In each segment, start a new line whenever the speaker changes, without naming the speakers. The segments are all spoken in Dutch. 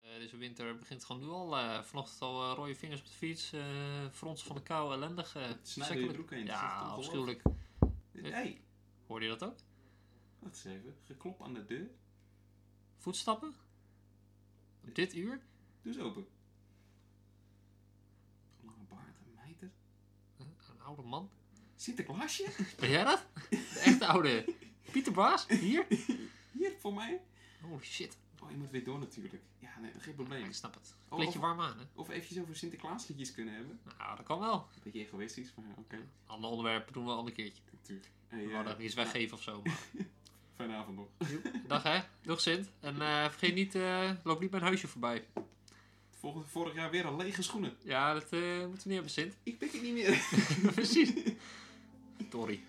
Eh, deze winter begint gewoon nu al. eh, vanochtend al eh, rode vingers op de fiets. eh fronsen van de kou, ellendig. eh,
Het snijdt door je broek heen, het is echt
Ja, afschuwelijk.
ongelooflijk. Hé, hey,
Hoorde je dat ook?
wacht eens even. Geklop aan de deur.
Voetstappen? Op dit uur?
Doe eens open. Lange baard, een mijter.
Eh, Een oude man.
Sinterklaasje?
Ben jij dat? De echte oude Pieter Baas? Hier?
Hier, voor mij.
Holy shit.
Oh, je moet weer door natuurlijk. Ja, nee, geen
Ja,
probleem.
ik snap het.
Oh,
Kleed je
of-
warm aan, hè?
Of eventjes over Sinterklaasliedjes kunnen hebben.
Nou, dat kan wel.
Een beetje egoïstisch, maar oké.
Andere onderwerpen doen we een ander keertje.
Natuurlijk. Hey,
We
eh,
hadden iets weggeven of zo. Maar.
fijne avond nog.
Dag hè, dag Sint. En eh, vergeet niet, eh, loop niet mijn huisje voorbij.
Volgend, vorig jaar weer al lege schoenen.
Ja, dat eh, moeten we niet hebben, Sint.
Ik pik het niet meer.
Precies. Sorry.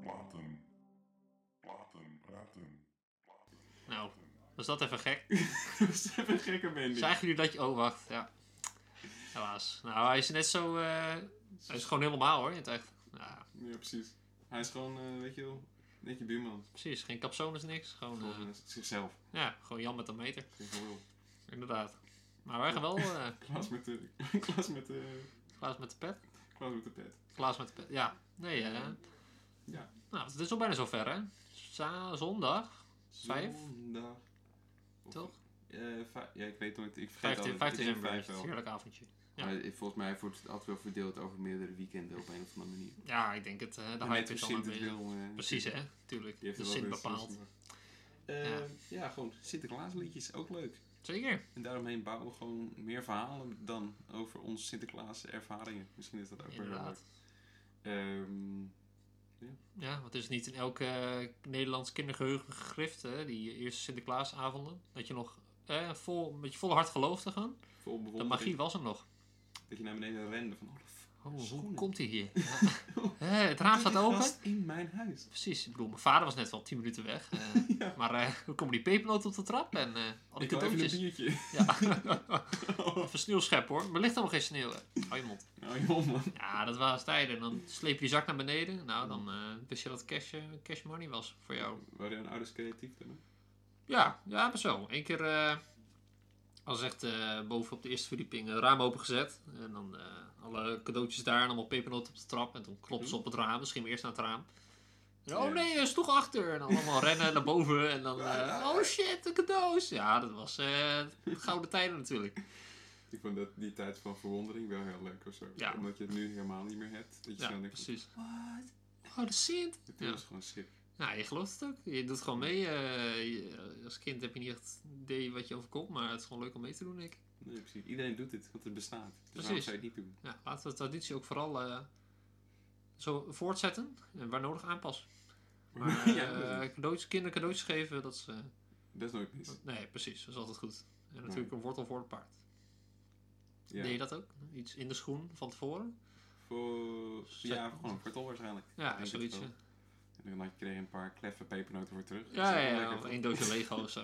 Platen. Platen. Platen.
Nou, was dat even gek?
Dat is even een gekke banding.
Zagen jullie dat je... Oh, wacht. Ja. Helaas. Nou, hij is net zo... eh, Hij is gewoon helemaal hoor, in het echt. Ja,
Ja, precies. Hij is gewoon, eh, weet je wel, net je buurman.
precies. Geen capsones, niks. Gewoon, eh,
Volgens mij is het zichzelf.
ja, gewoon Jan met een meter.
Ik wil wel.
Inderdaad. Maar wij gaan wel... eh
Klaas met de... Klaas met de...
Klaas met de pet.
Klaas met de pet.
Klaas met de pet. Ja. Nee, eh.
Ja.
Nou, het is al bijna zover hè. Za- zondag. Vijf?
Zondag. Of-
Toch?
Eh, vij- ja, ik weet nooit. Ik vergeet
15,
altijd.
15
Het is
december.
vijf wel.
Heerlijk avondje. Ja.
Maar eh, volgens mij wordt het altijd wel verdeeld over meerdere weekenden op een of andere manier.
Ja, ik denk het. eh, de
En net
hype
hoe
is dan
Sint het
aanwezig.
wil, eh,
Precies,
die
hè? Tuurlijk.
heeft
De
wel
zin
weer zijn
bepaalt.
zin. Eh,
Ja.
ja, gewoon Sinterklaasliedjes, ook leuk.
Zeker.
En daaromheen bouwen we gewoon meer verhalen dan over onze Sinterklaas ervaringen. Misschien is dat ook wel leuk.
Inderdaad.
Ehm,
Ja, want het is niet in elk eh, Nederlands kindergeheugen gegrift, hè? Die eerste Sinterklaasavonden. Dat je nog eh, vol, met je volle hart gelooft te gaan.
vol
De
bewondering
magie was er nog.
dat je naar beneden rende van... Oh, f-
Oh, hoe
Schoenen.
komt hij hier? Ja. Hè, het raam staat
die
open.
gast in mijn huis.
Precies. Ik bedoel, mijn vader was net wel 10 minuten weg. eh,
Ja.
Maar eh, hoe komen die pepernoten op de trap? En eh al die
Ik wil even een
cadeautjes.
biertje.
Ja. of een sneeuwschep hoor. Maar ligt er nog geen sneeuw? hè? Hou je mond.
Nou, joh man.
Ja, dat waren tijden. Dan sleep je je zak naar beneden. Nou, dan eh, wist je dat cash, eh, cash money was voor jou.
Waren jouw ouders creatief dan? hè?
Ja, ja, maar zo. Eén keer, eh als echt eh, boven op de eerste verdieping, het raam opengezet. En dan eh, alle cadeautjes daar en allemaal pepernoten op de trap. En toen klopte ze op het raam. Misschien eerst naar het raam. En, oh
Ja.
nee, er is toch achter. En dan allemaal rennen naar boven. En dan, eh,
Ah.
oh shit, de cadeaus. Ja, dat was eh, gouden tijden natuurlijk.
Ik vond dat die tijd van verwondering wel heel leuk of zo.
Ja.
Omdat je het nu helemaal niet meer hebt. Dat je
Ja,
zo denkt,
precies.
wat?
Oh, de Sint.
Het
Ja.
was gewoon sick.
Nou, je gelooft het ook. Je doet gewoon mee. eh, je- als kind heb je niet echt idee wat je overkomt, maar het is gewoon leuk om mee te doen, denk ik.
Nee, precies. Iedereen doet dit, want het bestaat. Dus waarom
Precies.
zou je het niet doen?
Ja, laten we de traditie ook vooral eh, zo voortzetten en waar nodig aanpassen. Maar
Ja,
eh, cadeautjes, kinderen cadeautjes geven, dat is... eh,
dat is nooit mis.
nee, precies. Dat is altijd goed. En natuurlijk een wortel voor het paard.
Ja.
Deed je dat ook? Iets in de schoen van tevoren?
Voor... ja, gewoon een kwartal waarschijnlijk. Ik
Ja,
denk
zoiets.
het wel.
ja.
En dan had je- kreeg je een paar kleffe pepernoten voor terug. Dat is
Ja,
wel
ja, ja,
lekker,
of
toch?
één doosje Lego of zo.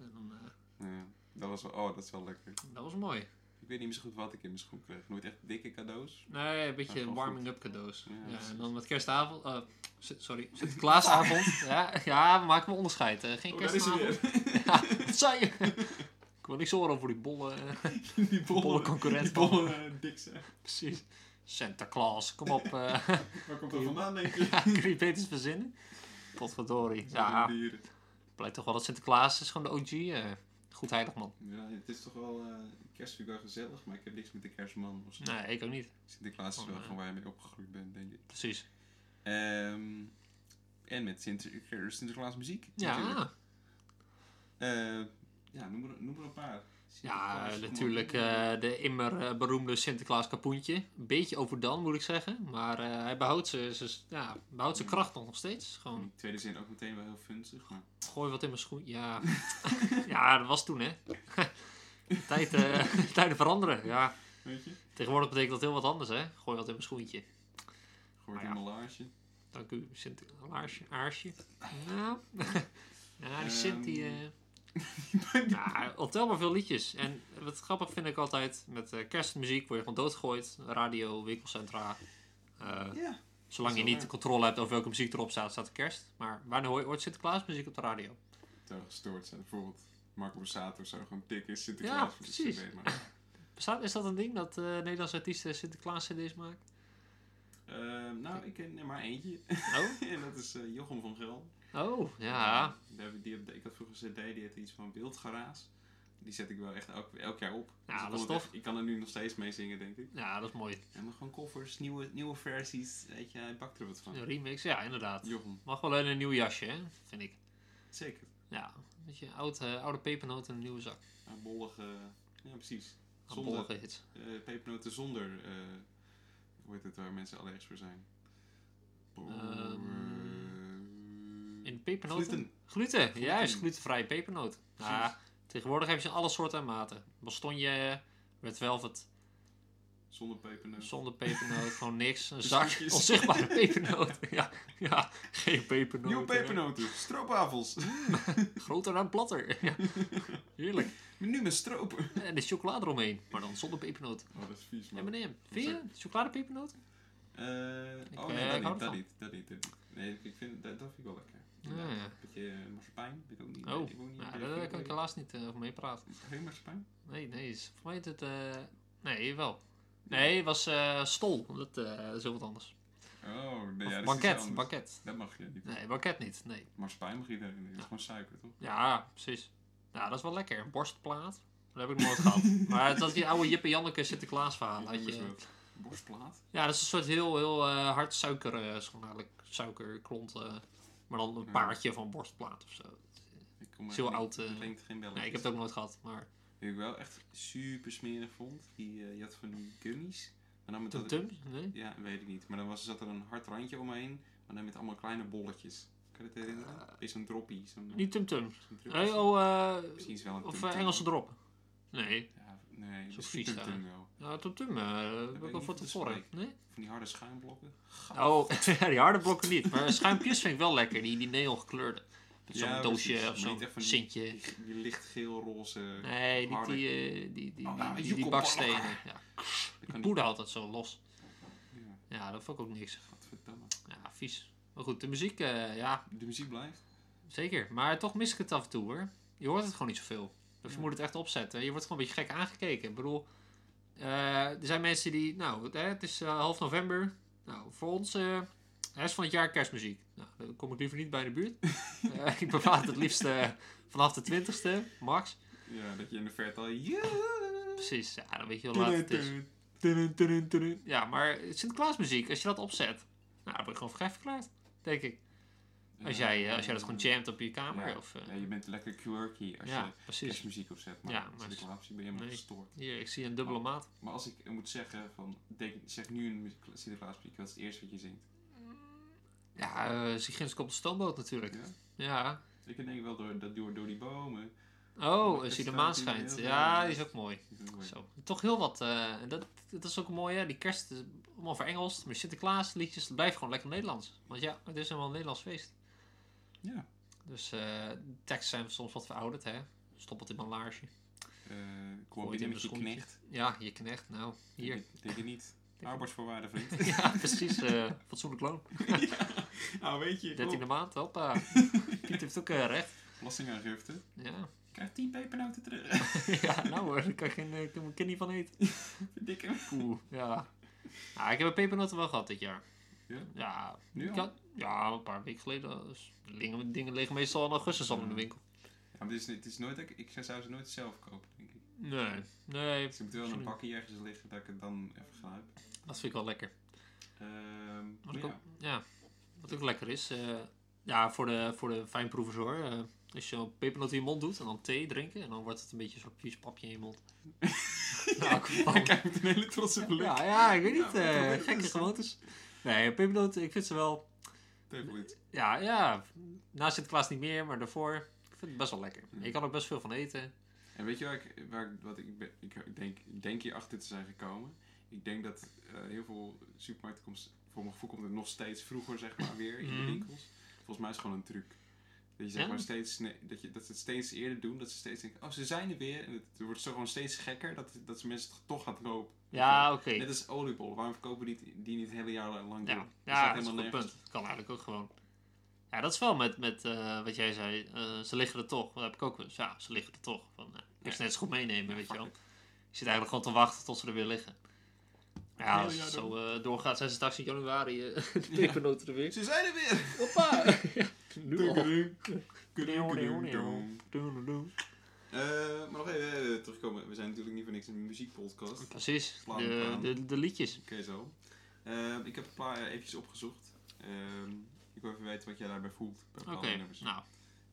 En dan, eh,
Ja, dat was wel... Oh, dat is wel lekker.
dat was mooi.
Ik weet niet meer zo goed wat ik in mijn schoen kreeg. Nooit echt dikke cadeaus.
Nee, een
Ja,
beetje
gewoon
warming-up cadeaus.
Ja,
Ja,
precies.
en dan met kerstavond... eh, s- sorry, Sinterklaasavond. ja, ja, maak me onderscheid. eh, geen
Oh, daar is hij
kerstavond.
weer.
Ja, wat zei je? Ik wil niks horen over die bolle, eh,
die
bolle
bollen.
concurrent.
Die bollen eh, dik zijn.
Precies. Santa Claus, kom op. eh
Waar komt dat vandaan, denk je?
kun je het eens verzinnen? Potverdorie. Ja,
Dieren.
blijkt toch wel dat Sinterklaas is gewoon de OG. eh, goed heilig man.
Ja, het is toch wel eh kerst vind ik wel gezellig, maar ik heb niks met de kerstman of zo.
Nee, ik ook niet.
Sinterklaas is
Oh,
wel
nee.
gewoon waar je mee opgegroeid bent, denk ik.
Precies.
Ehm, en met Sinter dus Sinterklaas muziek. natuurlijk.
Ja,
Eh, ja noem, er, noem er een paar.
ja
Sinterklaas,
natuurlijk
kom op.
eh, de immer eh, beroemde Sinterklaas Kapoentje. Een beetje overdan, moet ik zeggen. Maar eh, hij behoudt zijn ja, behoudt zijn kracht nog steeds. Gewoon
Die tweede zin ook meteen wel heel funzig, maar
Gooi wat in mijn schoen. Ja, ja dat was toen, hè. Tijd, eh, tijden veranderen, ja.
Weet je?
Tegenwoordig betekent dat heel wat anders, hè? Gooi wat in mijn schoentje.
Gooi
Ah,
het
ja.
in mijn laarsje.
Dank u, Sint Laarsje. Aarsje. Nou, nou die Sint die...
Ehm.
eh, Nou, ontelbaar veel liedjes. En wat grappig vind ik altijd, met eh, kerstmuziek word je gewoon doodgegooid. Radio, winkelcentra. Eh,
Ja.
zolang je
Zo,
niet
ja.
controle hebt over welke muziek erop staat, staat de kerst. Maar wanneer hoor je ooit Sinterklaasmuziek op de radio?
Terwijl gestoord zijn. Bijvoorbeeld Marco Borsato zou gewoon dik
Ja,
in Sinterklaas. voor de
precies.
CD maken.
Bestaat, is dat een ding dat eh, Nederlandse artiesten Sinterklaas cd's maken?
Ehm, nou, ik ken er maar eentje.
Oh,
en dat is eh, Jochem van Gel.
oh ja.
Eh, daar heb ik- die heb- ik had vroeger een cd, die heette iets van Wildgaraas. Die zet ik wel echt elk, elk jaar op. Dus
Ja,
ik
dat is
kon het
tof.
echt- Ik kan er nu nog steeds mee zingen, denk ik.
Ja, dat is mooi.
En maar gewoon koffers, nieuwe, nieuwe versies. Weet je, hij bakt er wat van.
Een remix, ja, inderdaad.
Jochem,
Mag wel in een nieuw jasje, hè? vind ik.
zeker.
Ja, een beetje oud, eh, oude pepernoot in een nieuwe zak.
Aanbollige, ja precies. Zonder,
Bollige hits.
eh, pepernoten zonder, eh hoe heet het, waar mensen allergisch voor zijn.
Ehm, In pepernoten?
Gluten.
Gluten,
Gluten.
juist, glutenvrije pepernoot. Nou, tegenwoordig heb je ze in alle soorten en maten. Bastonje, red velvet,
Zonder pepernoten.
zonder pepernoot, gewoon niks. Een zak,
Stukjes.
onzichtbare pepernoot. Ja, ja geen pepernoot. eh,
Nieuwe pepernoten, stroopwafels.
Groter dan platter. Ja, heerlijk.
nu met stroop.
En de chocolade eromheen, maar dan zonder pepernoot.
Oh, dat is vies, man.
M&M, vind je? Chocoladepepernoot?
Eh, oh,
eh,
nee,
ik hou
dat, niet, dat
ervan.
niet, dat niet, dat niet. Nee, ik vind, dat, dat vind ik wel lekker.
Ja,
Een
Ah, ja.
beetje eh, marsepein, vind ik ook niet.
Oh,
ik ook niet
nou,
meer-
daar kan ik
Heb
helaas niet eh, over meepraten.
je Geen marsepein?
Nee, nee, is, voor mij is het... eh, nee, wel. Nee, het was eh, stol. Dat eh, is heel wat anders.
Oh, nee,
Of
ja, dat is iets
banket,
anders.
banket.
Dat mag je niet.
Nee, banket niet. Nee.
Marsepein mag iedereen niet. Dat is gewoon suiker, toch?
Ja, precies. Nou, dat is wel lekker. Een borstplaat. Dat heb ik nooit gehad. Maar dat is die oude Jip en Janneke Sinterklaas verhaal.
Ik
Dat
noem
je-
eens wat. Borstplaat?
ja, dat is een soort heel, heel eh, hard suiker, eh, is gewoon eigenlijk suikerklont. eh, maar dan een
Ja.
paardje van borstplaat of zo.
Ik kom
Is heel
echt
oud,
niet-
eh.
klinkt geen bellen.
Nee, ik heb het ook nooit gehad. Maar
Die ik wel echt super smerig vond. Die, eh, je had van die gummies. Maar dan met
Tum
dat-
Tum? Nee?
Ja, weet ik niet. Maar dan was, zat er een hard randje omheen. Maar dan met allemaal kleine bolletjes. Kan je dat herinneren? Is zo'n droppie. Zo'n,
Eh. Niet Tum Tum.
zo'n druppel.
Nee, oh, eh,
Misschien is wel een
of eh,
tum-tum.
Engelse drop. Nee.
Ja, nee,
Zo'n
dat is
vies
tum-tum
daar.
wel.
Nou, Tum Tum. eh, dat heb
weet
ik
ik
al
niet
voor
hoe te
tevoren.
spreken.
Nee?
Van die harde schuimblokken.
Oh, die harde blokken niet. Maar schuimpjes vind ik wel lekker. Die, die neon gekleurde. Met zo'n
Ja,
doosje
precies.
of
Maar
zo'n
niet echt van die-
sintje.
Die, die lichtgeel-roze.
Nee, niet
harde-
die, eh, die, die,
Oh, nou,
die, die, die
joekelballen.
bakstenen. Ja.
Ik
Die
kan
poeder altijd zo los.
niet- Ja,
Ja, dat vond ik ook niks.
godverdamme.
Ja, vies. Maar goed, de muziek, eh, ja,
De muziek blijft.
zeker. Maar toch mis ik het af en toe hoor. Je hoort het gewoon niet zoveel. Dus je
Ja.
moet het echt opzetten. Je wordt gewoon een beetje gek aangekeken. Ik bedoel, eh, er zijn mensen die, nou, het, hè, het is eh, half november. Nou, voor ons, eh de rest van het jaar kerstmuziek. Nou, daar kom ik liever niet bij in de buurt. Eh, ik bepaal het liefst eh, vanaf de 20ste, max.
Ja, dat je in de verte al...
Precies, ja, dan weet je wel laat het is. Ja, maar Sinterklaasmuziek, als je dat opzet, nou, dan word je gewoon voor gek verklaard, denk ik. Als jij, eh, als jij dat gewoon jamt op je kamer,
Ja.
of... eh,
Ja, je bent lekker quirky als
ja,
je
precies.
kerstmuziek opzet. Maar
Ja,
ja,
maar
als
als-
ik laat zie, ben je helemaal
Nee.
gestoord.
Hier, ik zie een dubbele
Oh.
maat.
Maar als ik moet zeggen, van, denk, zeg nu een muziek- Sinterklaasmuziek, wat is het eerste wat je zingt?
Ja, eh Sigrins komt de stoomboot natuurlijk.
Ja?
Ja.
Ik denk wel door, dat door, door die bomen.
Oh,
Maar
als je de
kerst
maan
staat hier
schijnt.
heel
Ja,
veel,
die is
ja.
ook mooi.
Ik bedoel,
Zo. Toch heel wat. eh, en dat, dat is ook mooi, hè. Die kerst is allemaal voor Engels. Maar Sinterklaas liedjes blijven gewoon lekker Nederlands. Want ja, het is helemaal een Nederlands feest.
Ja.
Dus eh, de teksten zijn soms wat verouderd, hè. Stop het in mijn laarsje.
Eh
in
kom binnen
mijn
met je
schoentje.
knecht.
Ja, je knecht, nou, hier.
Denk- Denk je niet. Arbeidsvoorwaarden, vriend.
ja, precies. eh fatsoenlijk loon.
Nou, weet je. kom.
13e maand, hoppa. Piet heeft ook eh, recht.
Belastingaangifte.
Ja.
Ik krijg 10 pepernoten terug.
ja, nou hoor, daar kan ik geen, eh, kan mijn kind niet van eten.
Dikke.
Oeh, ja. Nou, ik heb een pepernoten wel gehad dit jaar.
Ja?
Ja,
Nu
ik
al?
had- ja een paar weken geleden. Dus dingen, dingen liggen meestal in augustus al in de
Ja.
winkel.
Ja, maar het is, het is nooit, dat ik, ik zou ze nooit zelf kopen, denk ik.
Nee, nee,
Dus ik moet wel in een bakje ergens liggen dat ik het dan even grijp.
dat vind ik wel lekker.
Ehm
Wat,
maar
ik
ja,
ook, ja, wat ook lekker is, eh, ja, voor de, voor de fijnproevers hoor. eh, als je een pepernoot in je mond doet en dan thee drinken, en dan wordt het een beetje zo'n vies papje in je mond. nou, kom op.
hij kijkt met een hele trotse blik.
Ja, ja, ik weet niet.
Ja, maar
eh,
dat is
gekke
het.
gewoontes. Nee, pepernoten, ik vind ze wel...
Teugelt.
Ja, ja, na Sinterklaas niet meer, maar daarvoor... Ik vind het best wel lekker. Je kan er best veel van eten.
En weet je waar ik, waar ik- wat ik, ben- ik, ik denk, ik denk hier achter te zijn gekomen? Ik denk dat eh, heel veel supermarkten komt, voor mijn gevoel komt het nog steeds vroeger, zeg maar, weer in de
Mhm.
winkels. Volgens mij is het gewoon een truc. Dat je zeg
Ja?
maar steeds, nee, dat, je, dat ze het steeds eerder doen, dat ze steeds denken, oh ze zijn er weer. En het, wordt zo gewoon steeds gekker dat, dat ze mensen toch gaan kopen.
Ja, oké.
Net als oliebollen, waarom verkopen die, het- die niet het hele jaar lang door?
Ja,
Dat staat
ja dat is een goed
nergens.
punt. Dat kan eigenlijk ook gewoon. Ja, dat is wel met, met eh, wat jij zei. eh, ze liggen er toch. Dat heb ik ook wel eens. Ja, ze liggen er toch. Van, nou, ik
Nee.
ze net zo goed meenemen, weet je
fuck
wel.
it.
Je zit eigenlijk gewoon te wachten tot ze er weer liggen. Ja,
Heel
als
jaar
het zo eh, doorgaat, zijn ze straks in januari eh de pepernoten er weer.
Ze zijn er weer!
Hoppa! Ja, nu al.
Tudu, tudu, tudu, tudu.
Doedeloe.
Eh, maar nog even eh, terugkomen. We zijn natuurlijk niet voor niks een muziekpodcast. Oké,
Precies,
Slaan
de,
elkaar.
de, de liedjes.
zo. Ehm, ik heb een paar eh, eventjes opgezocht. Ehm, ik wil even weten wat jij daarbij voelt. bij
Oké,
bepaalde nummers.
nou.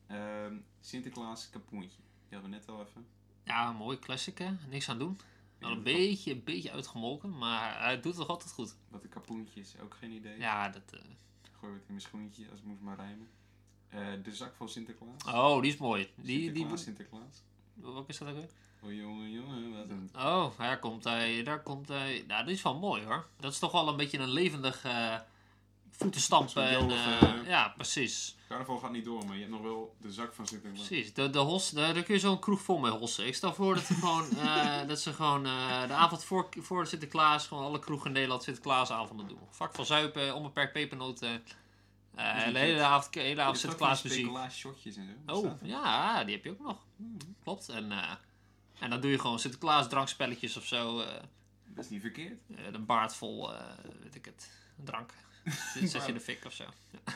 Ehm, Sinterklaas Kapoentje. Die hadden we net al even.
Ja, mooi classic hè. Niks aan doen. Wel een
Ja,
beetje, een beetje uitgemolken, maar hij doet het toch altijd goed.
Wat een kapoentje is, ook geen idee.
Ja, dat... eh,
Gooi het in mijn schoentje, als het moest maar rijmen. Eh, de zak van Sinterklaas.
Oh, die is mooi. Die, die,
Sinterklaas, Sinterklaas.
wat is dat ook weer?
Oh jongen, jongen, wat een...
Oh, daar komt hij. Daar komt hij. Nou, die is wel mooi hoor. Dat is toch wel een beetje een levendig eh voetenstampen.
Zo'n
En,
jolig,
eh,
eh,
ja, precies.
Carnaval gaat niet door, maar je hebt nog wel de zak van Sinterklaas.
Precies. De, de hos, daar, daar kun je zo'n kroeg vol mee hossen. Ik stel voor dat, ze gewoon, eh, dat ze gewoon eh, de avond voor, voor Sinterklaas, gewoon alle kroegen in Nederland Sinterklaasavonden doen. Vak van zuipen, onbeperkt pepernoten. Eh,
Is niet
de hele
goed.
avond, de hele avond
Je hebt ook van die
Sinterklaas muziek.
Sinterklaas-shotjes en zo.
Oh,
Bestaat dat?
ja, die heb je ook nog. Klopt. En, eh, en dan doe je gewoon Sinterklaas drankspelletjes of zo. eh,
Dat is niet verkeerd.
Eh, een baard vol, eh, weet ik het, drank. Zet je in de fik of zo.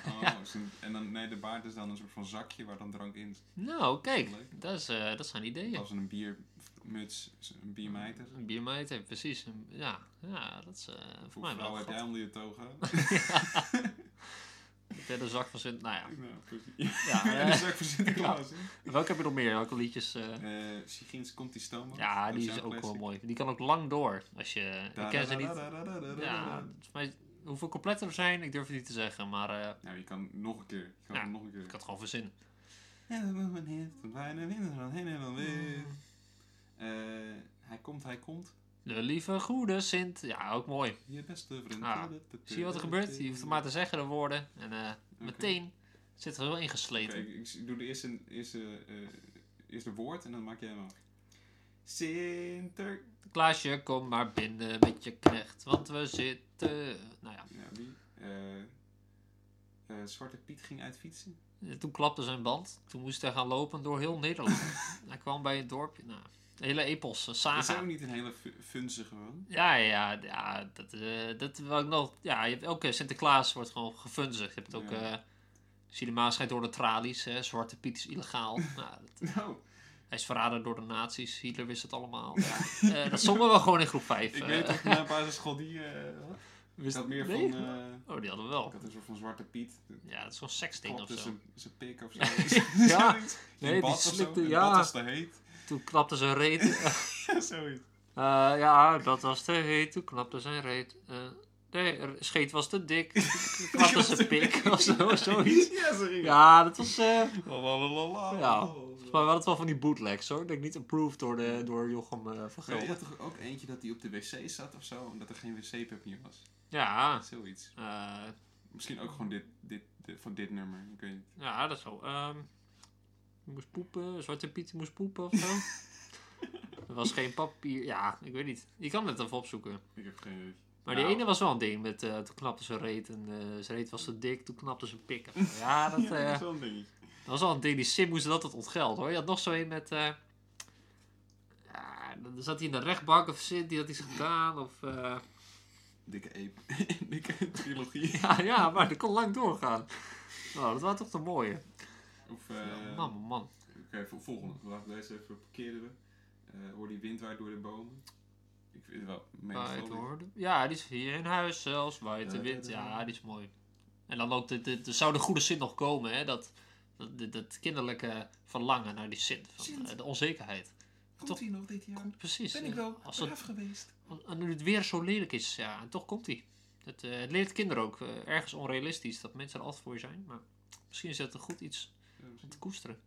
Oh, is een- en dan, nee, de baard is dan een soort van zakje waar dan drank in zit.
Nou, kijk,
Leuk.
dat, is, eh, dat zijn ideeën.
Als een biermuts, een biermijter.
Een biermeter, eh, precies. Een- Ja, ja, dat is eh voor
Hoeveel
mij wel
vrouwen heb
een
jij
gat.
onder je toga?
Ik ben de zak van Sint... Nou ja.
nou, precies.
ja
En de
eh,
zak voor Sinterklaas. hè?
welke heb je nog meer? Welke liedjes? eh?
Eh, Sigins komt die stoomboot.
ja,
Dat
die
zo'n
is ook wel
classic.
mooi. Die kan ook lang door. Als je... Ik ken ze niet... Ja,
Da-da-da-da-da-da-da-da-da.
volgens mij- hoeveel completten er zijn, ik durf het niet te zeggen. Maar eh,
Nou, je kan nog een keer. Je kan
Ja.
het nog een keer.
ik had het gewoon verzinnen.
En dan wordt mijn hit, dan bijna winnen, dan heen en dan weer.
Mm.
Eh, hij komt, hij komt.
De lieve goede Sint. Ja, ook mooi.
Je beste vriend.
Ah, Zie je wat er gebeurt? Je hoeft het maar te zeggen, de woorden. En eh,
Oké.
meteen zit er wel ingesleten.
Oké, ik, ik doe de eerste, eerste, eh, eerste woord en dan maak jij hem af. Sinter...
Klaasje, kom maar binnen met je knecht, want we zitten... Nou ja,
Ja, wie? Eh, eh, Zwarte Piet ging uit fietsen.
toen klapte zijn band. Toen moest hij gaan lopen door heel Nederland. hij kwam bij het dorpje. Nou, een hele epos, een
Is dat
saga.
ook niet een hele fu- funzige man?
Ja, ja, ja, dat, eh dat wil ik nog... Ja, je hebt elke Sinterklaas wordt gewoon gefunzigd. Je hebt ook...
Ja.
eh Cinema schijnt door de tralies, hè. Zwarte Piet is illegaal. nou, dat-
Nou,
hij is verraden door de nazi's, Hitler wist het allemaal. Ja. Eh, dat zongen we gewoon in groep eh. 5.
ik weet dat mijn basisschool die... eh, had. ik had meer van... eh,
Oh, die hadden we wel.
ik had een soort van Zwarte Piet. dus Dat
Ja, dat is zo'n seksding of
Klapte
zo.
zijn, zijn pik of zo.
Ja,
Zoiets.
nee,
In
die
bad of zo.
slikte-
In
ja.
bad als het heet.
Toen knapte zijn reet.
Ja, zoiets.
Eh, ja, dat was te heet. Toen knapte zijn reet. Eh, nee, er- scheet was te dik. Toen knapte zijn pik of zo, zoiets.
Ja, zoiets.
Ja, dat was... eh
Lalalala.
ja, volgens mij waren het wel van die bootlegs hoor. Ik denk niet approved door, de, door Jochem eh, van
Maar je
Gelder.
had toch ook eentje dat hij op de wc zat of zo, omdat er geen wc-papier was?
Ja,
Zoiets.
eh,
Misschien ook gewoon dit, dit, dit- van dit nummer. Ik weet niet.
ja dat zo. Ehm je moest poepen. Zwarte Piet moest poepen of zo. er was geen papier. Ja, ik weet niet. Je kan het even opzoeken.
Ik heb geen idee.
Maar die
Nou.
ene was wel een ding met eh, toen knapte ze reet en eh, zijn reet was te dik, toen knapte ze pik. Ja, dat,
Ja,
eh,
dat is wel een dingetje.
dat was wel een ding. Die Sim moest dat het ontgeld hoor. Je had nog zo een met. eh, ja, dan zat hij in de rechtbank of zit, die had iets gedaan. Of, eh,
Dikke ape. Dikke trilogie.
ja, ja, maar dat kon lang doorgaan. Nou, dat waren toch de mooie.
Of,
Ja,
eh
man, man, man.
Oké, vol- volgende. Laten we deze even parkeren. we. Eh, hoor die wind waait door de bomen. Ik vind het wel
Maar het
meestal.
hoorde- Ja, die is hier in huis zelfs, waait de wind. Ja, die is mooi. En dan ook, de, de, de- zou de goede zin nog komen, hè? Dat, dat, dat- dat kinderlijke verlangen naar die zin. Van,
Zin.
eh, de onzekerheid. Komt
hij nog dit jaar?
Precies. Als het,
geweest?
als- en nu het weer zo lelijk is, ja, en toch komt hij. Het, eh, het leert kinderen ook eh, ergens onrealistisch dat mensen er altijd voor je zijn. Maar misschien is dat een goed iets om te koesteren.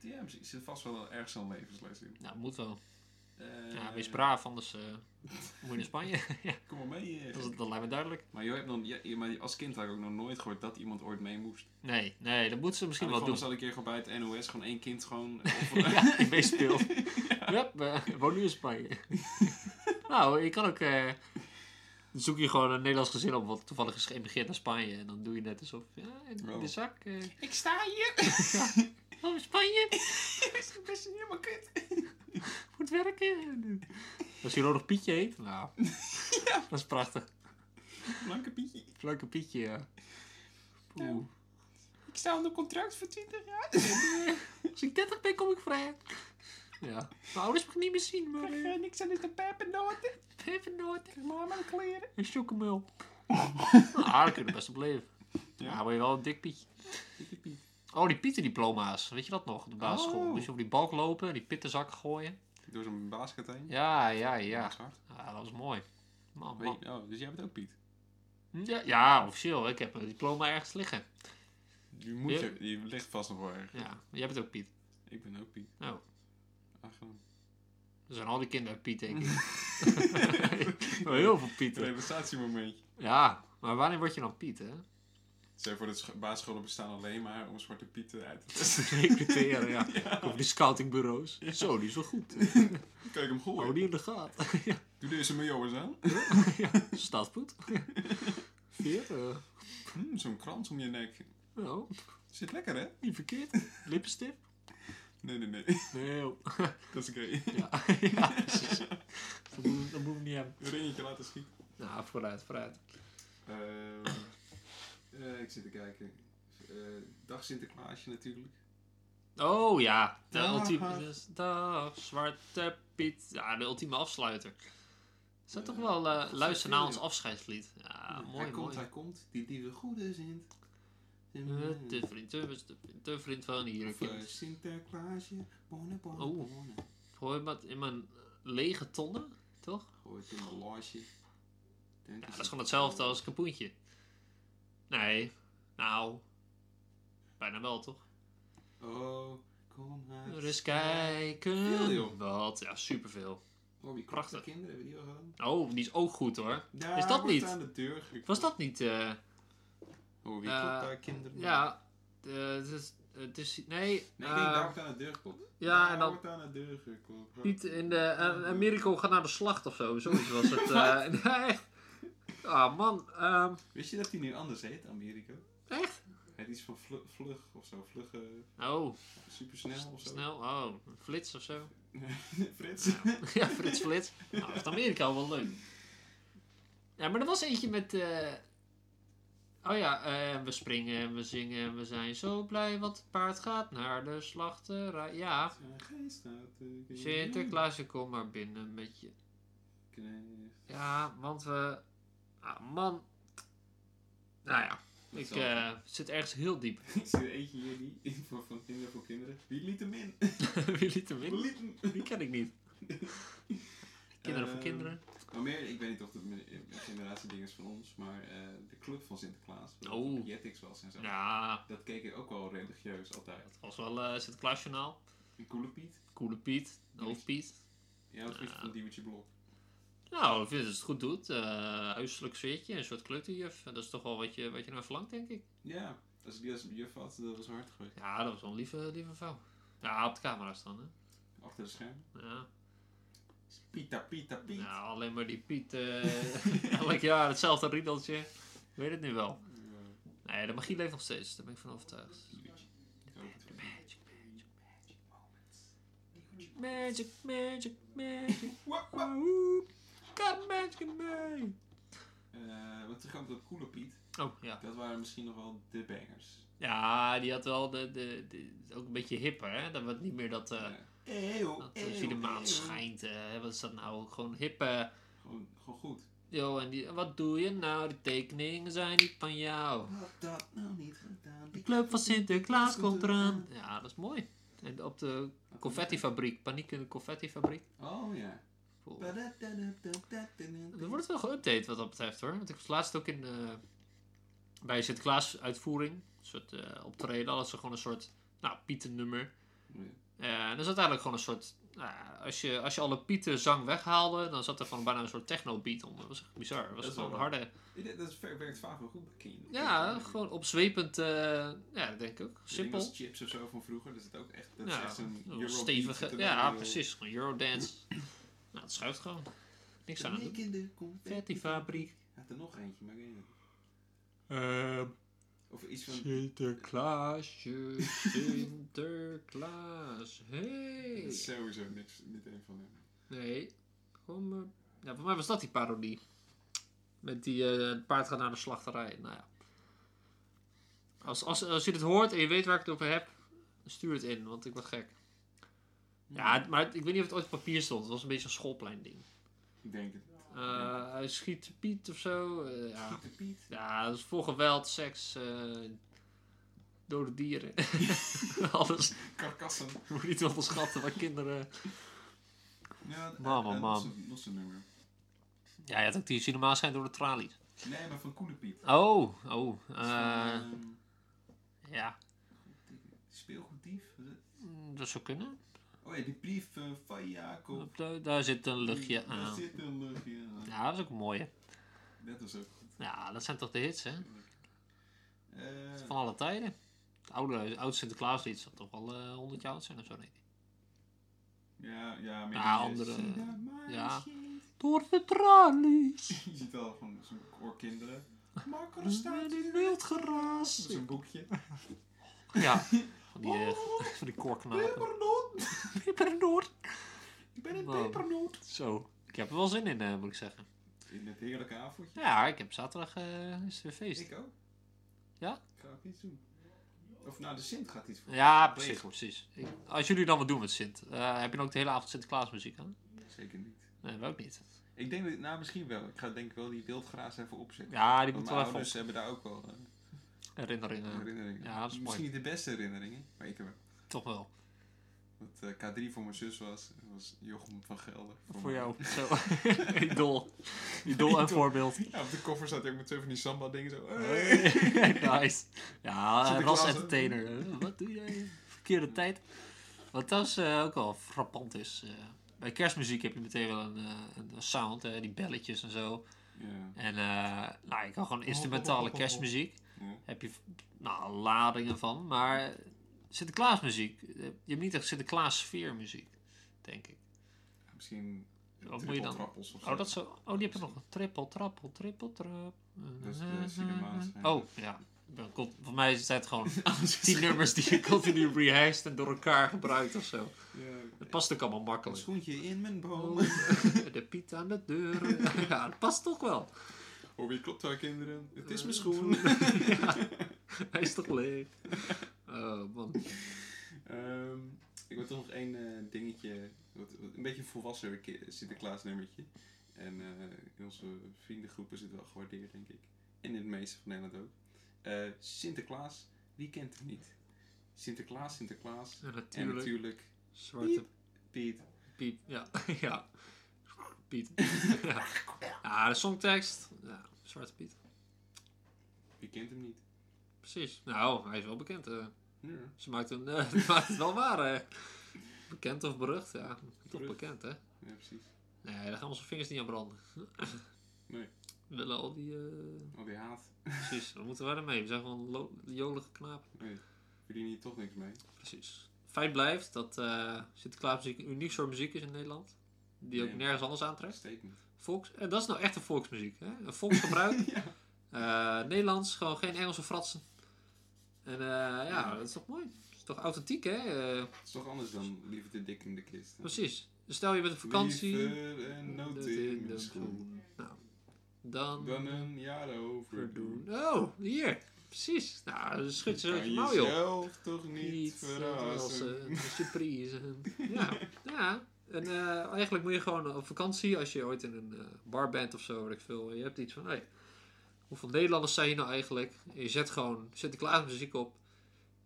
Ja, precies. Er zit vast wel ergens een levensles in.
Nou, moet wel.
Eh,
Ja, wees braaf, anders eh, moet je naar Spanje. ja,
Kom maar mee. eh.
dat, is- dat lijkt me duidelijk.
Maar, joh, je hebt dan, ja, je- maar als kind had ik ook nog nooit gehoord dat iemand ooit mee moest.
Nee, nee, dat moeten ze misschien
Misschien
wel doen.
gewoon zal ik keer gewoon bij het NOS gewoon één kind gewoon...
ja, ik meespeelt. Hup, eh, ik woon nu in Spanje. nou, je kan ook... eh, dan zoek je gewoon een Nederlands gezin op wat toevallig is geëmigreerd naar Spanje. En dan doe je net alsof... Ja, in
Wow.
de zak. eh
ik sta hier!
oh, Spanje,
is best helemaal kut.
moet werken. Als je ook nog Pietje heet. Nou, dat is prachtig.
Blanke Pietje.
Leuke Pietje, ja. Oeh.
Ik sta onder contract voor 20 jaar.
Als ik 30 ben, kom ik vrij. Ja. Mijn ouders mag ik niet meer zien, maar... eh,
niks aan de pepernoten.
Even nooit.
Mama de kleren.
Een chocomel. ah, daar kun je best op leven.
Ja.
Ja, dan word je wel een dik Pietje. Oh, die pietendiploma's. Weet je dat nog? De basisschool.
Oh.
Moest je op die balk lopen en die pittenzak gooien.
Door zo'n basket heen.
Ja, ja,
Dat
ja.
is hard.
Ah, dat was mooi. Man,
Weet
man.
je- oh, dus jij bent ook Piet.
Ja, ja, officieel. Ik heb een diploma ergens liggen.
Je, moet
Ja.
je, je ligt vast nog wel erg.
Ja, jij bent ook Piet.
Ik ben ook Piet.
Oh.
Aangenaam.
Er zijn al die kinderen Piet, denk ik. Wel Heel veel Pieten.
Realisatiemomentje.
Ja, maar wanneer word je dan Piet, hè?
Zeg voor de sch- basisscholen bestaan alleen maar om zwarte pieten uit te testen.
Recruteren, ja. Of die scoutingbureaus. Zo, die is wel goed.
Kijk hem gooien.
Hou Oh, die in de gaten. ja.
Doe deze miljoers aan.
ja, staat goed. Veer, eh,
Hm, Zo'n krans om je nek.
nou,
Zit lekker, hè?
niet verkeerd. Lippenstift?
Nee, nee, nee.
Nee, joh.
Dat is oké.
ja, ja, precies. Dat moet- dat moet ik niet hebben.
Een ringetje laten schieten.
Nou, vooruit, vooruit.
Ehm, eh, ik zit te kijken. Eh, dag Sinterklaasje natuurlijk.
Oh ja, de
Dag.
ultieme... Dag, Zwarte Piet. Ja, de ultieme afsluiter. Is dat
Ja,
toch wel eh,
dat is
luister naar ons
natuurlijk.
afscheidslied? Ja, Ah, mooi,
hij komt,
mooi.
hij komt. Die lieve goede Sint.
Eh, Te vriend, te vriend, te vriend, te vriend van hier.
Of, eh, Sinterklaasje, bonne, bonne,
Oh.
bonne.
Gooi wat in mijn lege tonnen, toch?
Gooi het in mijn laasje. Dank
Ja,
je,
dat is gewoon hetzelfde als kapoentje. Nee, nou, bijna wel toch?
Oh, kom maar.
Er eens kijken.
Veel, joh.
Wat? Ja, superveel.
Oh, die
Prachtig.
prachtige kinderen hebben die al gedaan.
Oh, die is ook goed hoor.
Daar
Is dat
wordt
niet?
aan de deur geklopt.
Was dat niet? eh,
Oh, wie
eh,
klopt daar kinderen?
Ja, eh, het is. Het is nee,
Nee, ik denk,
eh,
daar wordt aan de deur geklopt.
ja, en
Daar
dan.
wordt aan de deur geklopt.
Niet in de. eh, Amerika gaat naar de slacht of zo. Zoiets was het. eh, nee, echt. Ah, man. ehm,
Wist je dat die nu anders heet, Amerika?
echt?
Het is van vlug, vlug of zo, vlug, eh,
Oh,
supersnel of zo.
snel. Oh, een flits of zo.
Frits.
Ja, Frits Flits. Nou, dat is Amerika wel leuk. Ja, maar er was eentje met... eh, Oh ja, eh, we springen en we zingen en we zijn zo blij, want het paard gaat naar de slachterij. Ja,
Zijn geest uit de wereld.
Sinterklaasje, kom maar binnen met je...
Knecht.
Ja, want we... Ah, man. Nou ja, ik
Hetzelfde.
eh, zit ergens heel diep.
Ik zie er eentje hier die in voor van kinderen voor kinderen. Wie liet hem in?
Wie liet hem
Wie
in?
liet hem?
Die ken ik niet. Kinderen voor
Ehm,
kinderen.
Maar meer, ik weet niet of het een generatie ding is van ons, maar eh, de club van Sinterklaas, wat
Oh.
op Jetix was en zo.
Ja,
Dat keek ik ook wel religieus altijd.
dat was wel eh Sinterklaasjournaal.
Een coole Piet.
Koele Piet, Hoofdpiet.
Ja, dat is
Ja.
van Diewertje Blok.
Nou, ik vind dat het goed doet. Eh, huiselijk sfeertje, een soort kleuterjuf. En Dat is toch wel wat je, wat je naar verlangt, denk ik.
Ja, als ik die als juf had, dat was hard geweest.
Ja, dat was wel een lieve, lieve vrouw. Ja, op de camera staan, hè.
Achter de scherm.
Ja.
Pita, Pita, Piet.
Nou, alleen maar die Piet. eh, elk jaar hetzelfde riedeltje. Ik weet het nu wel.
Ja.
Nee, de magie leeft nog steeds. Daar ben ik van overtuigd.
Diewertje. Ik hoop het.
Magic, magic, magic moments. Magic, magic, magic.
Wap, wap.
Woehoe. Got magic in me.
Eh, Wat terugkomt op Coole Piet,
Oh, ja.
dat waren misschien nog wel de bangers.
Ja, die had wel de, de, de- ook een beetje hipper, hè. Dat wordt niet meer dat... eh,
Ja. Eeuw,
Dat
eeuw,
als je de
eeuw.
maan schijnt, eh, wat is dat nou? Gewoon hippe.
Gewoon, gewoon goed.
Yo, en die, wat doe je nou? De tekeningen zijn niet van jou.
Had dat nou niet gedaan.
De club van Sinterklaas komt eraan. Ja, dat is mooi. En op de
Had-
confettifabriek, paniek in de confettifabriek.
Oh ja.
Cool. Er wordt wel geüpdate wat dat betreft hoor. Want ik was laatst ook in eh, bij Sinterklaas uitvoering, een soort eh, optreden, alles ze gewoon een soort nou, pietennummer. Eh, er zat eigenlijk gewoon een soort. nou ja, als, je, als je alle pieten zang weghaalde, dan zat er gewoon bijna een soort techno-beat onder. Dat was echt bizar. Dat was
Dat is
gewoon
wel
harde.
Ik denk Dat is- werkt vaak wel goed bij Keen.
Ja, gewoon opzwepend. eh, ja, dat denk ik ook.
Simpel.
Simpel.
chips of zo van vroeger, dat is het ook echt, dat is
Ja,
echt een
wel
Eurobeat
stevige.
zit er
Ja,
dan in.
precies. Gewoon Eurodance. nou, het schuift gewoon. Niks aan.
Ik in de confetti.
fabriek.
Had er nog eentje, maar ik weet niet.
Uh,
Of iets van...
Sinterklaasje, Sinterklaas,
Dat is
hey.
sowieso niks, niet een van hem.
Nee, kom maar. Ja, voor mij was dat die parodie. Met die eh, het paard gaat naar de slachterij. Nou ja. Als, als, als je dit hoort en je weet waar ik het over heb, stuur het in, want ik word gek. Ja, maar ik weet niet of het ooit op papier stond. Het was een beetje een schoolplein ding.
Ik denk het.
Eh, hij schiet Piet of zo. eh, ja.
Pieter Piet.
Ja, dat is voor geweld, seks, eh, dode dieren. Alles.
Karkassen.
Moet niet onderschatten waar kinderen...
Ja,
Man, man,
eh,
man.
Nog zo'n- nog zo'n nummer.
Ja, je had ook die cinema zijn door de tralies.
Nee, maar van Koele Piet.
Oh, oh.
Dat is
eh,
van, ehm,
ja,
Speelgoeddief? was het?
Mm, dat zou kunnen.
Oh ja, die brief eh, van Jacob.
Op de- daar zit een luchtje
Daar
aan.
zit een luchtje aan.
Ja, dat is ook mooi.
Dat is ook goed.
Ja, dat zijn toch de hits, hè?
Eh,
Van alle tijden. Het oude, het oude Sinterklaaslied zal toch wel eh, 100 jaar oud zijn of zo, denk ik.
ja, ja, met
Ja,
die, eh,
andere-
zie dat meisje.
ja. Door de tralies.
Je ziet al gewoon zo'n koor kinderen. Makker
We
staat
zijn
in
in wild geraas.
zo'n boekje.
Ja, van die, eh,
Oh,
van die korknapen.
pepernoot.
Pepernoot.
Ik ben een
Wow.
pepernoot.
Zo. Ik heb er wel zin in, eh, moet ik zeggen.
In het heerlijke avondje.
Ja, ik heb zaterdag eh, is het weer feest.
Ik ook.
Ja?
Ik ga ook iets doen. Of nou, de Sint gaat iets voor.
Ja,
Weet
precies.
je.
precies. Ik- als jullie dan wat doen met Sint, eh, heb je dan ook de hele avond Sinterklaasmuziek aan?
Zeker niet.
Nee, wij ook niet.
Ik denk, dat- nou misschien wel. Ik ga denk ik wel die wildgraas even opzetten.
Ja, die
Want
moet
mijn
wel even
ouders
op- eh,
hebben daar ook wel eh,
herinneringen.
herinneringen.
Ja, dat is mooi.
Misschien niet de beste herinneringen, maar ik heb wel.
Toch wel.
Wat eh, K3 voor mijn zus was, was Jochem van Gelder.
Voor
mij.
jou. Zo. Idool. Idool en
Oh, Idool.
voorbeeld.
Ja, op de koffer zat hij ook met twee van die samba-dingen zo.
Oh, nice. Ja,
Sinterklaas,
ras
hè?
entertainer. Eh, Wat doe jij? Verkeerde tijd. Wat trouwens eh, ook wel frappant is. eh, bij kerstmuziek heb je meteen wel een, eh, een sound, hè, die belletjes en zo.
Ja.
En eh, nou, je kan
Oh,
gewoon instrumentale kerstmuziek.
Ja.
Heb je nou, ladingen van. Maar Sinterklaasmuziek. eh, Je hebt niet echt Sinterklaas sfeermuziek, denk ik.
Misschien
Wat moet je dan?
trippeltrappels of zo.
Oh, dat zo. Oh, die heb je nog. Trippel, trappel, trippel, trap.
Dat is de cinema's, hè. Oh,
Oh, ja. Dan komt- Voor mij zijn het gewoon die nummers die je continu rehashed en door elkaar gebruikt of zo.
Ja.
Het past ook allemaal
Een
makkelijk.
schoentje in mijn boom.
De Piet aan de deur. Ja, dat past toch wel.
Oh, wie klopt daar, kinderen? Het is
Eh,
mijn schoen.
Ja, hij is toch leeg. Oh, man.
Ehm, ik wil toch nog één eh, dingetje, wat, wat een beetje een volwassen ki- Sinterklaas-nummertje. En eh, in onze vriendengroepen zit wel gewaardeerd, denk ik. En in het meeste van Nederland ook. Eh, Sinterklaas, wie kent het niet? Sinterklaas, Sinterklaas.
Ja,
En
natuurlijk.
natuurlijk
Zwarte
Piet.
Piet. Ja, ja. Piet. Ja, ja de songtekst. Ja, Zwarte Piet.
Wie kent hem niet?
Precies. Nou, hij is wel bekend. eh.
Ja.
Ze maakt, hem, eh, ze maakt het wel waar. eh. Bekend of berucht, ja. Toch
Berucht.
bekend, hè?
Ja, precies.
Nee, daar gaan onze vingers niet aan branden.
Nee.
We willen al die... eh,
Al die haat.
Precies, dan moeten wij ermee. We zijn gewoon lo- jolige knapen.
Nee, verdienen hier toch niks mee.
Precies. Feit blijft dat eh Sinterklaasmuziek een uniek soort muziek is in Nederland. Die ook
Nee.
nergens anders aantreft.
Statement.
Volks, en dat is nou echt een volksmuziek. Hè? Een volksgebruik.
ja.
Eh, Nederlands, gewoon geen Engelse fratsen. En eh, ja, dat is toch mooi. Dat is toch authentiek, hè? Eh,
Het is toch anders dan liever te dik in de kist. hè?
precies. Stel je bent op vakantie...
Liever een noot in mijn schoen.
Nou, dan,
Dan een jaar overdoen.
verdoen. Oh, hier. Precies. Nou, dan schud je zo uit
Kan
je mouw, joh. eh,
jezelf toch niet verrassen.
verrassen, Surprise. ja, ja. En eh, eigenlijk moet je gewoon op vakantie, als je ooit in een eh, bar bent of zo, weet ik veel. en Je hebt iets van, hey, hoeveel Nederlanders zijn je nou eigenlijk? En je zet gewoon Sinterklaasmuziek op.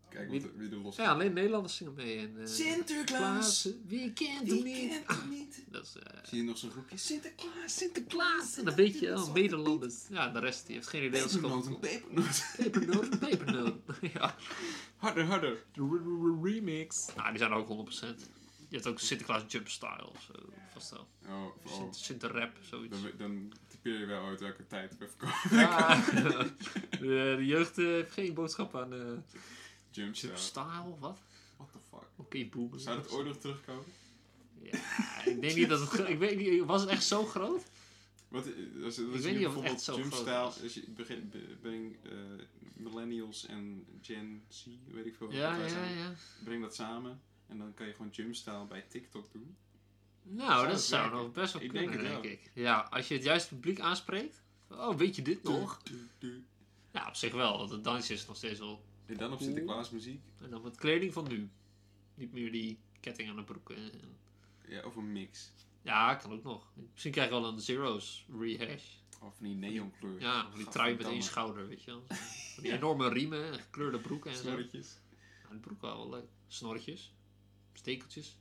Kijk
Wie-
wat er- wie er los
Ja, alleen Nederlanders zingen mee. En, eh,
Sinterklaas!
Klaas, wie kent hem
Die
niet?
kent hem niet.
Dat is eh,
Zie je nog zo'n groepje? Sinterklaas, Sinterklaas!
Klaas. En dan weet je,
dat
oh,
zal-
Nederlanders. Ja, en de rest die heeft geen idee wat ze
Pepernoot, een
komen. Pepernoot,
pepernoot.
pepernoot. ja.
Harder, harder.
De re- re- re- remix. Nou, die zijn er ook 100%. Je hebt ook Sinterklaas Jumpstyle of zo. Vast wel.
Oh, oh.
Sinter, Sinterrap, zoiets.
Dan, dan typeer je wel uit welke tijd we
Ja,
verkopen.
de, de jeugd eh, heeft geen boodschap aan eh
Jump shot.
Jumpstyle, wat?
What the fuck?
Oké, boomers.
Zou dat ooit nog terugkomen?
Ja, ik denk niet dat het... gro- Ik weet niet, was het echt zo groot?
Wat, eh, als, als
weet
je
niet of het echt
bijvoorbeeld
zo groot
jumpstyle,
is.
als je begint, be- breng eh, millennials en Gen Z, weet ik veel, wat
Ja,
wij
ja,
zijn,
ja.
breng dat samen en dan kan je gewoon jumpstyle bij TikTok doen.
Nou,
Zou
dat
het
zou
werken?
nog best wel
Ik
kunnen,
denk
denk,
het wel.
ik. Ja, als je het juiste publiek aanspreekt... Oh, weet je dit nog?
Du- du-
Ja, op zich wel, want het dansje is nog steeds wel...
En dan op
Cool.
Sinterklaas muziek,
En dan met kleding van nu. Niet meer die ketting aan de broek. en- en-
ja, of een mix.
Ja, kan ook nog. Misschien krijg je wel een Zero's rehash.
Of van die neonkleur.
Ja, van die trui met één schouder, weet je wel. Van die enorme riemen en gekleurde broeken en zo. Ja,
Snorretjes.
de broek wel wel leuk. Snorretjes. Stekeltjes.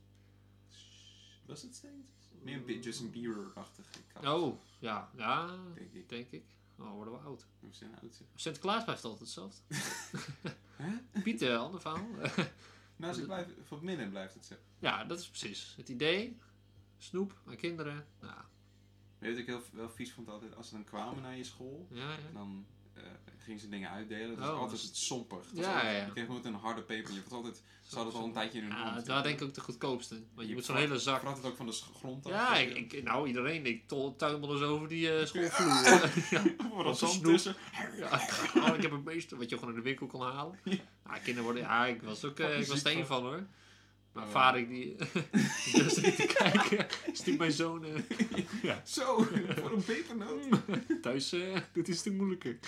Was het steeds? Meer een beetje Justin Bieber-achtig.
Oh, ja. Ja,
Denk ik.
denk ik. Oh, worden we oud.
Hoe nou zijn oud zeg.
Sinterklaas blijft altijd hetzelfde.
Hè?
Piet, eh, ander verhaal.
Nou, ze blijven, van binnen blijft het zo.
ja, dat is precies het idee. Snoep aan kinderen. Nou, Ja,
Weet je wat ik heel wel vies vond altijd? Als ze dan kwamen naar je school,
ja, ja.
dan eh, gingen ze dingen uitdelen. Dat was
Oh,
altijd
dat is-
het sompig.
Ja,
Dat was altijd-
ja.
Je kreeg nooit een harde peper. Je had altijd, ze hadden het al een tijdje in hun
Ja,
hand.
daar denk ik ook de goedkoopste. Want je
Je
moet zo'n
vrat-
hele zak...
Vrat het ook van de s- grond af.
Ja,
Weet je?
ik, ik- nou iedereen. Ik tol- tuimel eens over die eh, schoolvloer. ja.
Voor
Wat
dat zand
snoep.
tussen.
Ja, oh, ik heb het meeste wat je gewoon in de winkel kon halen. Ja, kinderen worden... Ja, ik was ook... eh, ik was
Ziek
steen van hoor. Maar
Oh.
vader, ik die... eh, die durfde niet te kijken. Stiep mijn zoon... eh,
Zo, voor een pepernoot.
thuis eh, dit is te moeilijker.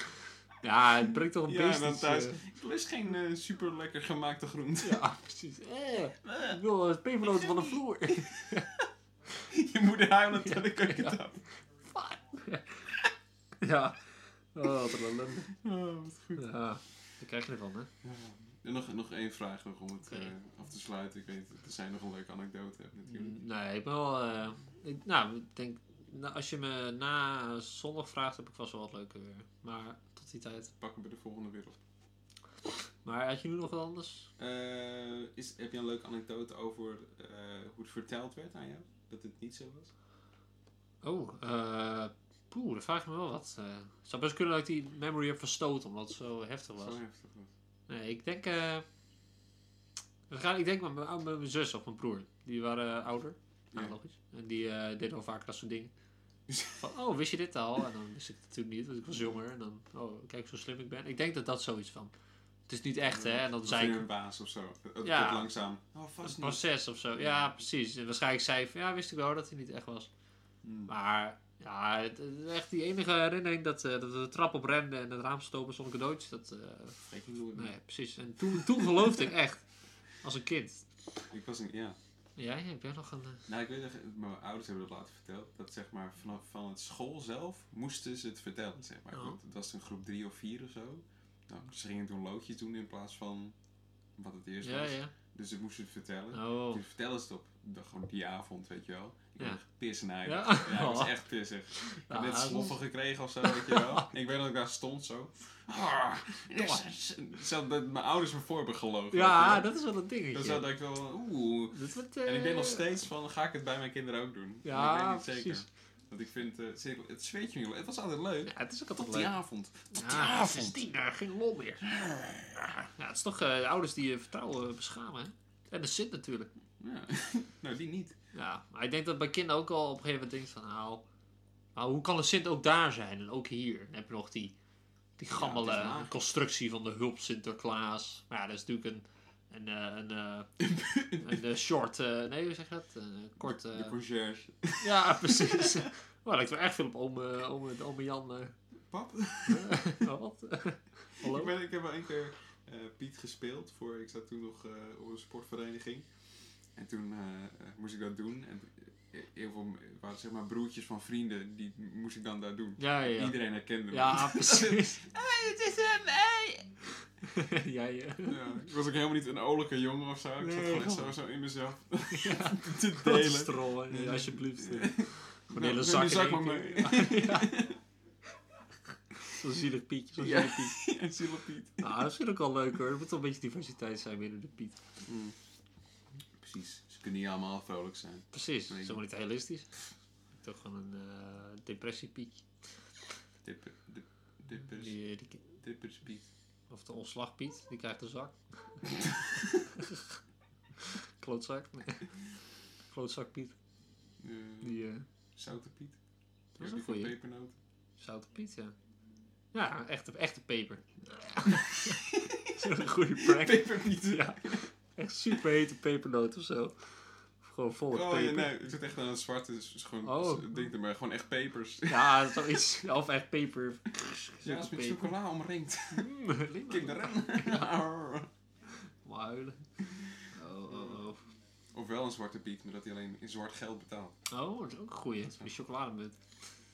Ja, het brengt toch een
Ja, en
beest.
dan
iets,
thuis.
eh,
Er is geen super lekker gemaakte groente.
ja, precies. Eh, ik wil het pepernoten van de vloer.
Je moeder huilend aan de keukentafel.
Fuck. ja. Oh, wat een ellende.
Oh, wat goed.
Ja, Ah, daar krijg je ervan, hè?
En nog, nog één vraag nog om het
Oké.
eh, af te sluiten. Ik weet, er zijn nog een leuke anekdote natuurlijk.
Nee, ik ben wel... eh, ik, nou, ik denk... nou, als je me na zondag vraagt, heb ik vast wel wat leuker weer. Maar tot die tijd.
Pakken we de volgende weer op.
Maar had je nu nog wat anders?
Eh, is, heb je een leuke anekdote over eh, hoe het verteld werd aan jou? Dat het niet zo was?
Oh, eh... Poeh, daar vraag ik me wel wat. eh. Het zou best kunnen dat ik die memory heb verstoten, omdat het zo heftig was.
Zo heftig was.
Nee, ik denk. eh, we gaan, ik denk met mijn, met mijn zus of mijn broer. Die waren eh, ouder. Nou,
Ja.
logisch. En die eh, deden al vaker dat soort dingen. Van, oh, wist je dit al? En dan wist ik het natuurlijk niet, want ik was jonger. En dan, oh, kijk zo slim ik ben. Ik denk dat dat zoiets van. Het is niet echt, hè? En dan
Was
zei
weer
ik
een baas of zo. Het
Ja.
wordt langzaam. Oh,
een
vast niet.
proces of zo. Ja, precies. En waarschijnlijk zei ik van, ja, wist ik wel dat hij niet echt was.
Hmm.
Maar, ja, het, het is echt die enige herinnering dat, eh, dat we de trap op renden en het raam stopen zonder cadeautjes. Dat, eh,
Vergeet niet nooit meer.
nee, precies. En toen, toen geloofde ik echt. Als een kind.
Ik was een, ja.
Jij heb jij nog een. eh,
Nou, ik weet dat mijn ouders hebben dat later verteld. Dat zeg maar vanaf van het school zelf moesten ze het vertellen. Zeg maar.
Oh.
Want het was een groep drie of vier of zo. Nou, ze gingen toen loodjes doen in plaats van wat het eerst
Ja,
was.
ja.
Dus ze moesten het vertellen.
Oh.
Toen vertellen ze het op de, gewoon die avond, weet je wel. Ik
Ja.
ben echt pissen naar
Ja? Oh.
Ja, ik was echt pissig. Ik heb
Ja,
net
dat is-
sloffen gekregen of zo, weet je wel. ik weet dat ik daar stond zo. Ah, yes. Zelfs dat mijn ouders me voor hebben gelogen.
Ja,
weet je wel.
dat is wel een
Dan zou
dingetje.
dat ik wel, oeh.
Dat wordt,
En ik ben nog
eh,
steeds van, ga ik het bij mijn kinderen ook doen?
Ja,
ik weet niet zeker.
precies.
Want ik vind, eh, zeker- het zweet je niet. Het was altijd leuk.
Ja, het is ook altijd
Tot die
leuk.
avond. Tot die
Ja, het is
avond.
tien, daar geen lol meer. Ja, het is toch eh, de ouders die je vertrouwen beschamen, hè? En de zit natuurlijk.
Ja. nou, die niet.
Ja, maar ik denk dat bij kinderen ook al op een gegeven moment denkt van, nou, maar hoe kan een Sint ook daar zijn en ook hier? Dan heb je nog die, die gammele
het is waar.
constructie van de hulp Sinterklaas. Maar ja, dat is natuurlijk een, een, eh, een, eh, een, eh, short, eh, nee, hoe zeg je dat? Een kort...
De,
eh,
de conciërge.
Ja, precies. Maar lijkt wel echt veel op ome, ome, ome Jan. eh.
Pap,
Eh, wat?
Ik,
Hallo?
ben, ik heb wel een keer eh, Piet gespeeld. Voor, ik zat toen nog eh, op een sportvereniging. En toen eh, eh, moest ik dat doen. En heel veel eh, waren, zeg maar, broertjes van vrienden, die moest ik dan daar doen.
Ja, ja, ja.
Iedereen herkende me.
Ja, precies.
het is hem, hey!
ja, ja.
Ja, ik was ook helemaal niet een olijke jongen of zo. Ik zat
Nee,
gewoon echt
joh.
zo, zo in mezelf
ja.
te
Wat een
delen.
strol, hè.
Ja.
alsjeblieft.
Ja.
Gewoon
Nou,
de hele
neem
zak,
die
in
zak
één
maar
keer.
mee.
Ja. Zo'n zielig pietje, zo'n
Ja.
zielig piet.
en Silla Piet.
Nou, dat vind ik wel leuk hoor. Er moet wel een beetje diversiteit zijn binnen de piet.
Precies, ze kunnen niet allemaal vrolijk zijn.
Precies,
Nee.
dat is helemaal niet realistisch. Ik heb toch gewoon een eh depressiepietje.
Dipper, dip, dippers,
Die, die-
dippers Piet.
of de ontslagpiet, die krijgt een zak. Klootzak. Nee. Klootzakpiet.
Eh,
Die eh
Zoute Piet.
is een
Die
goeie.
Pepernoot.
zoute piet, ja. Ja, echte, echte peper. Zo'n goede prank.
Peperpiet.
Ja, echt super hete pepernoot of zo. Of gewoon vol met
Oh ja,
peper. Ja,
nee, het zit echt aan het zwarte, dus het is gewoon,
Oh.
het ding er maar, gewoon echt pepers.
zoiets. Ja, Of echt peper.
Ja, als met
peper.
chocola omringd.
Mm,
Kinderen.
Maar huilen. Oh, oh, oh.
Of wel een zwarte piet, maar dat hij alleen in zwart geld betaalt.
Oh, dat is ook een goeie. Die chocolademunt.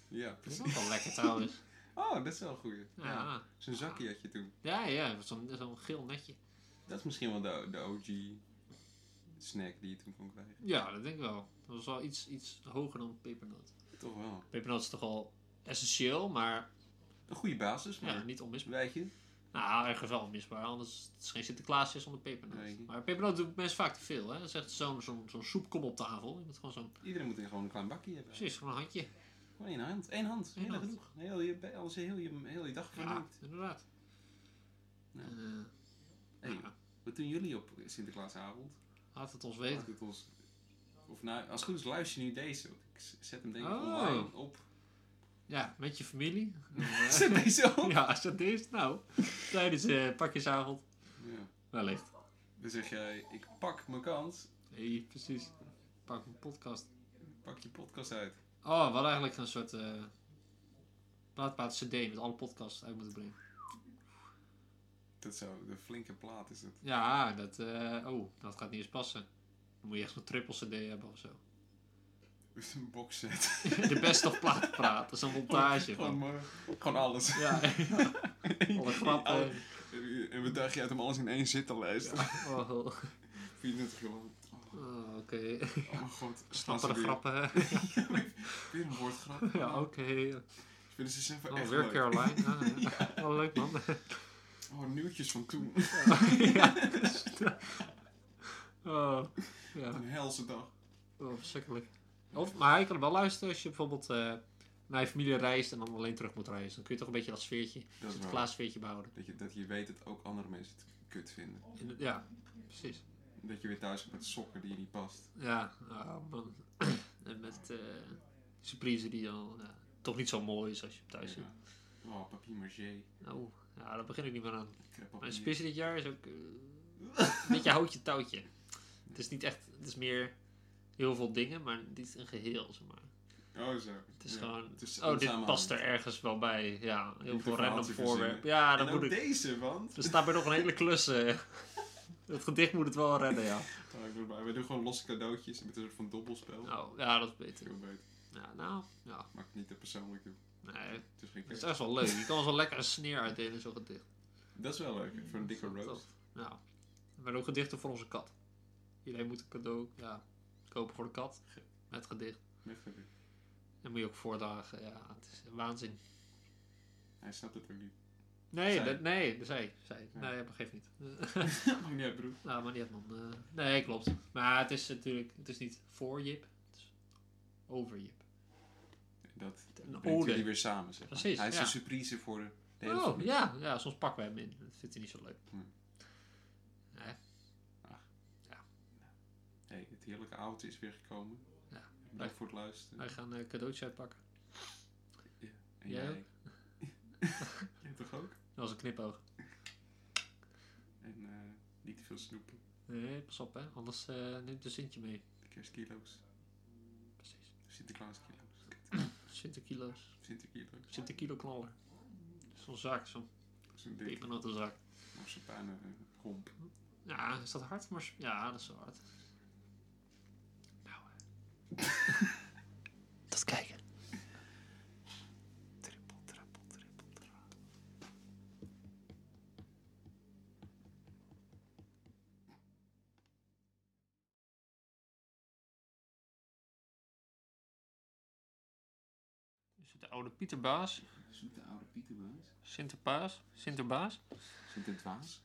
Ja,
Dat is
precies.
ook wel lekker trouwens.
Oh, dat is wel een goeie. Ja.
Ja,
Zo'n zakje had je toen.
ja, ja zo'n zo'n geel netje.
Dat is misschien wel de, de OG snack die je toen kon krijgen.
Ja, dat denk ik wel. Dat was wel iets, iets hoger dan pepernoot.
Toch wel.
Pepernoot is toch al essentieel, maar
Een goede basis, maar
ja, niet onmisbaar.
weet je.
Nou, ergens wel onmisbaar, anders het is geen Sinterklaasje zonder pepernoot.
Nee.
Maar pepernoot doet mensen vaak te veel, hè. Dat is echt zo'n zo'n zo'n soepkom op tafel. Je moet gewoon zo'n...
Iedereen moet er gewoon een klein bakje hebben.
Precies, gewoon een handje.
Gewoon één hand. Eén hand.
Eén
Heel
hand.
genoeg. Heel je, alles heel je, heel je dag
Ja,
vernieuwd.
inderdaad.
Ja.
En, eh,
Hey,
ja,
wat doen jullie op Sinterklaasavond?
laat het ons
Laat
weten.
het ons... Of nou, als het goed is luister je nu deze. Want ik z- zet hem denk ik
Oh.
online op.
Ja, met je familie.
Zet deze op.
ja, als dat is, nou. Tijdens eh pakjesavond.
Ja.
Wellicht.
Dan zeg jij, ik pak mijn kans.
Nee, precies. Pak een podcast.
Pak je podcast uit.
Oh, we hadden eigenlijk een soort... eh plaatplaat cd met alle podcasts uit moeten brengen.
Dat zou de flinke plaat is het.
Ja, dat... eh, oh, dat gaat niet eens passen. Dan moet je echt zo'n triple cd hebben of zo.
Dus een box set.
De best of plaat praat. Dat is een montage.
gewoon,
Van.
maar, gewoon alles.
Ja, alle grappen.
En we dachten je uit om alles in één zit te luisteren.
Oh, oh,
24 uur lang. Oh,
oké.
oh mijn god. Staan ze
Snappen de
weer.
grappen. hè?
Weer een woordgrap.
Ja, oké.
Vinden ze zelf
Oh,
dus echt
weer
leuk.
Caroline. Ah, ja. Wel leuk, man.
Oh, nieuwtjes van toen.
ja. Oh, ja.
Een helse dag.
Oh, verschrikkelijk. Of, maar je kan hem wel luisteren als je bijvoorbeeld eh, naar je familie reist en dan alleen terug moet reizen. Dan kun je toch een beetje dat sfeertje,
Dat is
het
waar.
klaas sfeertje behouden.
Dat je, dat je weet dat ook andere mensen het kut vinden.
In- Ja, precies.
Dat je weer thuis komt met sokken die je niet past.
Ja, ah, man. en met eh surprise die dan ja, toch niet zo mooi is als je hem thuis ziet.
Ja. Oh, papier maché.
Nou, ja, daar begin ik niet meer aan.
Krap
Mijn
papier.
surprise dit jaar is ook eh, een beetje houtje touwtje. Het is niet echt, het is meer heel veel dingen, maar niet een geheel, zeg maar.
Oh, zo.
Het is
Ja.
gewoon,
Het is
oh, dit
onsamenhangend.
past er ergens wel bij. Ja, heel
moet
veel
een
random
verhaaltje
voorwerpen.
verzinnen.
Ja,
En
dan moet ik,
ook deze, want...
er staat bij nog een hele klus. eh. Het gedicht moet het wel redden, ja.
Oh, ik ben erbij. We doen gewoon losse cadeautjes met een soort van dobbelspel.
Nou, ja, dat is beter.
Veel beter.
Ja, nou, ja,
Maakt het niet te persoonlijk toe.
nee,
Het is geen
Het is
kerst.
echt wel leuk. Je kan zo lekker een sneer uitdelen, zo'n gedicht.
Dat is wel leuk, voor een dikke roast.
Nou, maar ook gedichten voor onze kat. Iedereen moet een cadeau ja, kopen voor de kat. Met gedicht.
Met gebied.
En moet je ook voordragen. Ja, het is waanzin.
Hij snapt het ook niet.
Nee,
Zij.
dat, nee, dat zei zij.
Ja.
Nee, maar geeft niet.
Maakt niet uit, broer.
nou, maar niet uit, man. Eh, nee, klopt. Maar het is natuurlijk, het is niet voor Jip. Het is over Jip.
Dat
Een
brengt
ode.
jullie weer samen, zeg maar.
Precies,
Hij is
ja.
een surprise voor de, de hele
Oh,
familie.
ja, ja, soms pakken wij hem in. Dat vindt hij niet zo leuk.
Hmm.
Nee,
Hey, het heerlijke avondje is weer gekomen.
Ja.
Bedankt voor het luisteren.
wij gaan eh cadeautjes uitpakken.
En
Jij
jij? jij toch ook?
Dat was een knipoog.
En eh, niet te veel snoepen.
Nee, pas op, hè. Anders eh, neemt de Sintje mee.
De kerstkilo's.
Precies.
Sinterklaaskilo's.
Sinterkilo's.
Sinterkilo's.
Sinterkilo-knaller. Zo'n zak, zo'n
Zo'n dikke
pepernotenzak.
marsepainen eh, romp.
Ja, is dat hard? Maar... Ja, dat is wel hard. Nou, eh. Zoete oude Pieterbaas.
Zoete oude Pieterbaas.
Sinterpaas. Sinterbaas.
Sinterdwaas.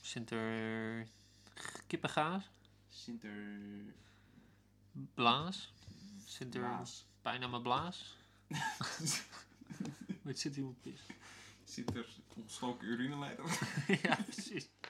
Sinter... Kippengaas.
Sinter...
Blaas. Sinter...
Blaas.
Bijna mijn blaas. Met zit iemand pis.
Sinter... Ontstoken urineleider.
ja, precies.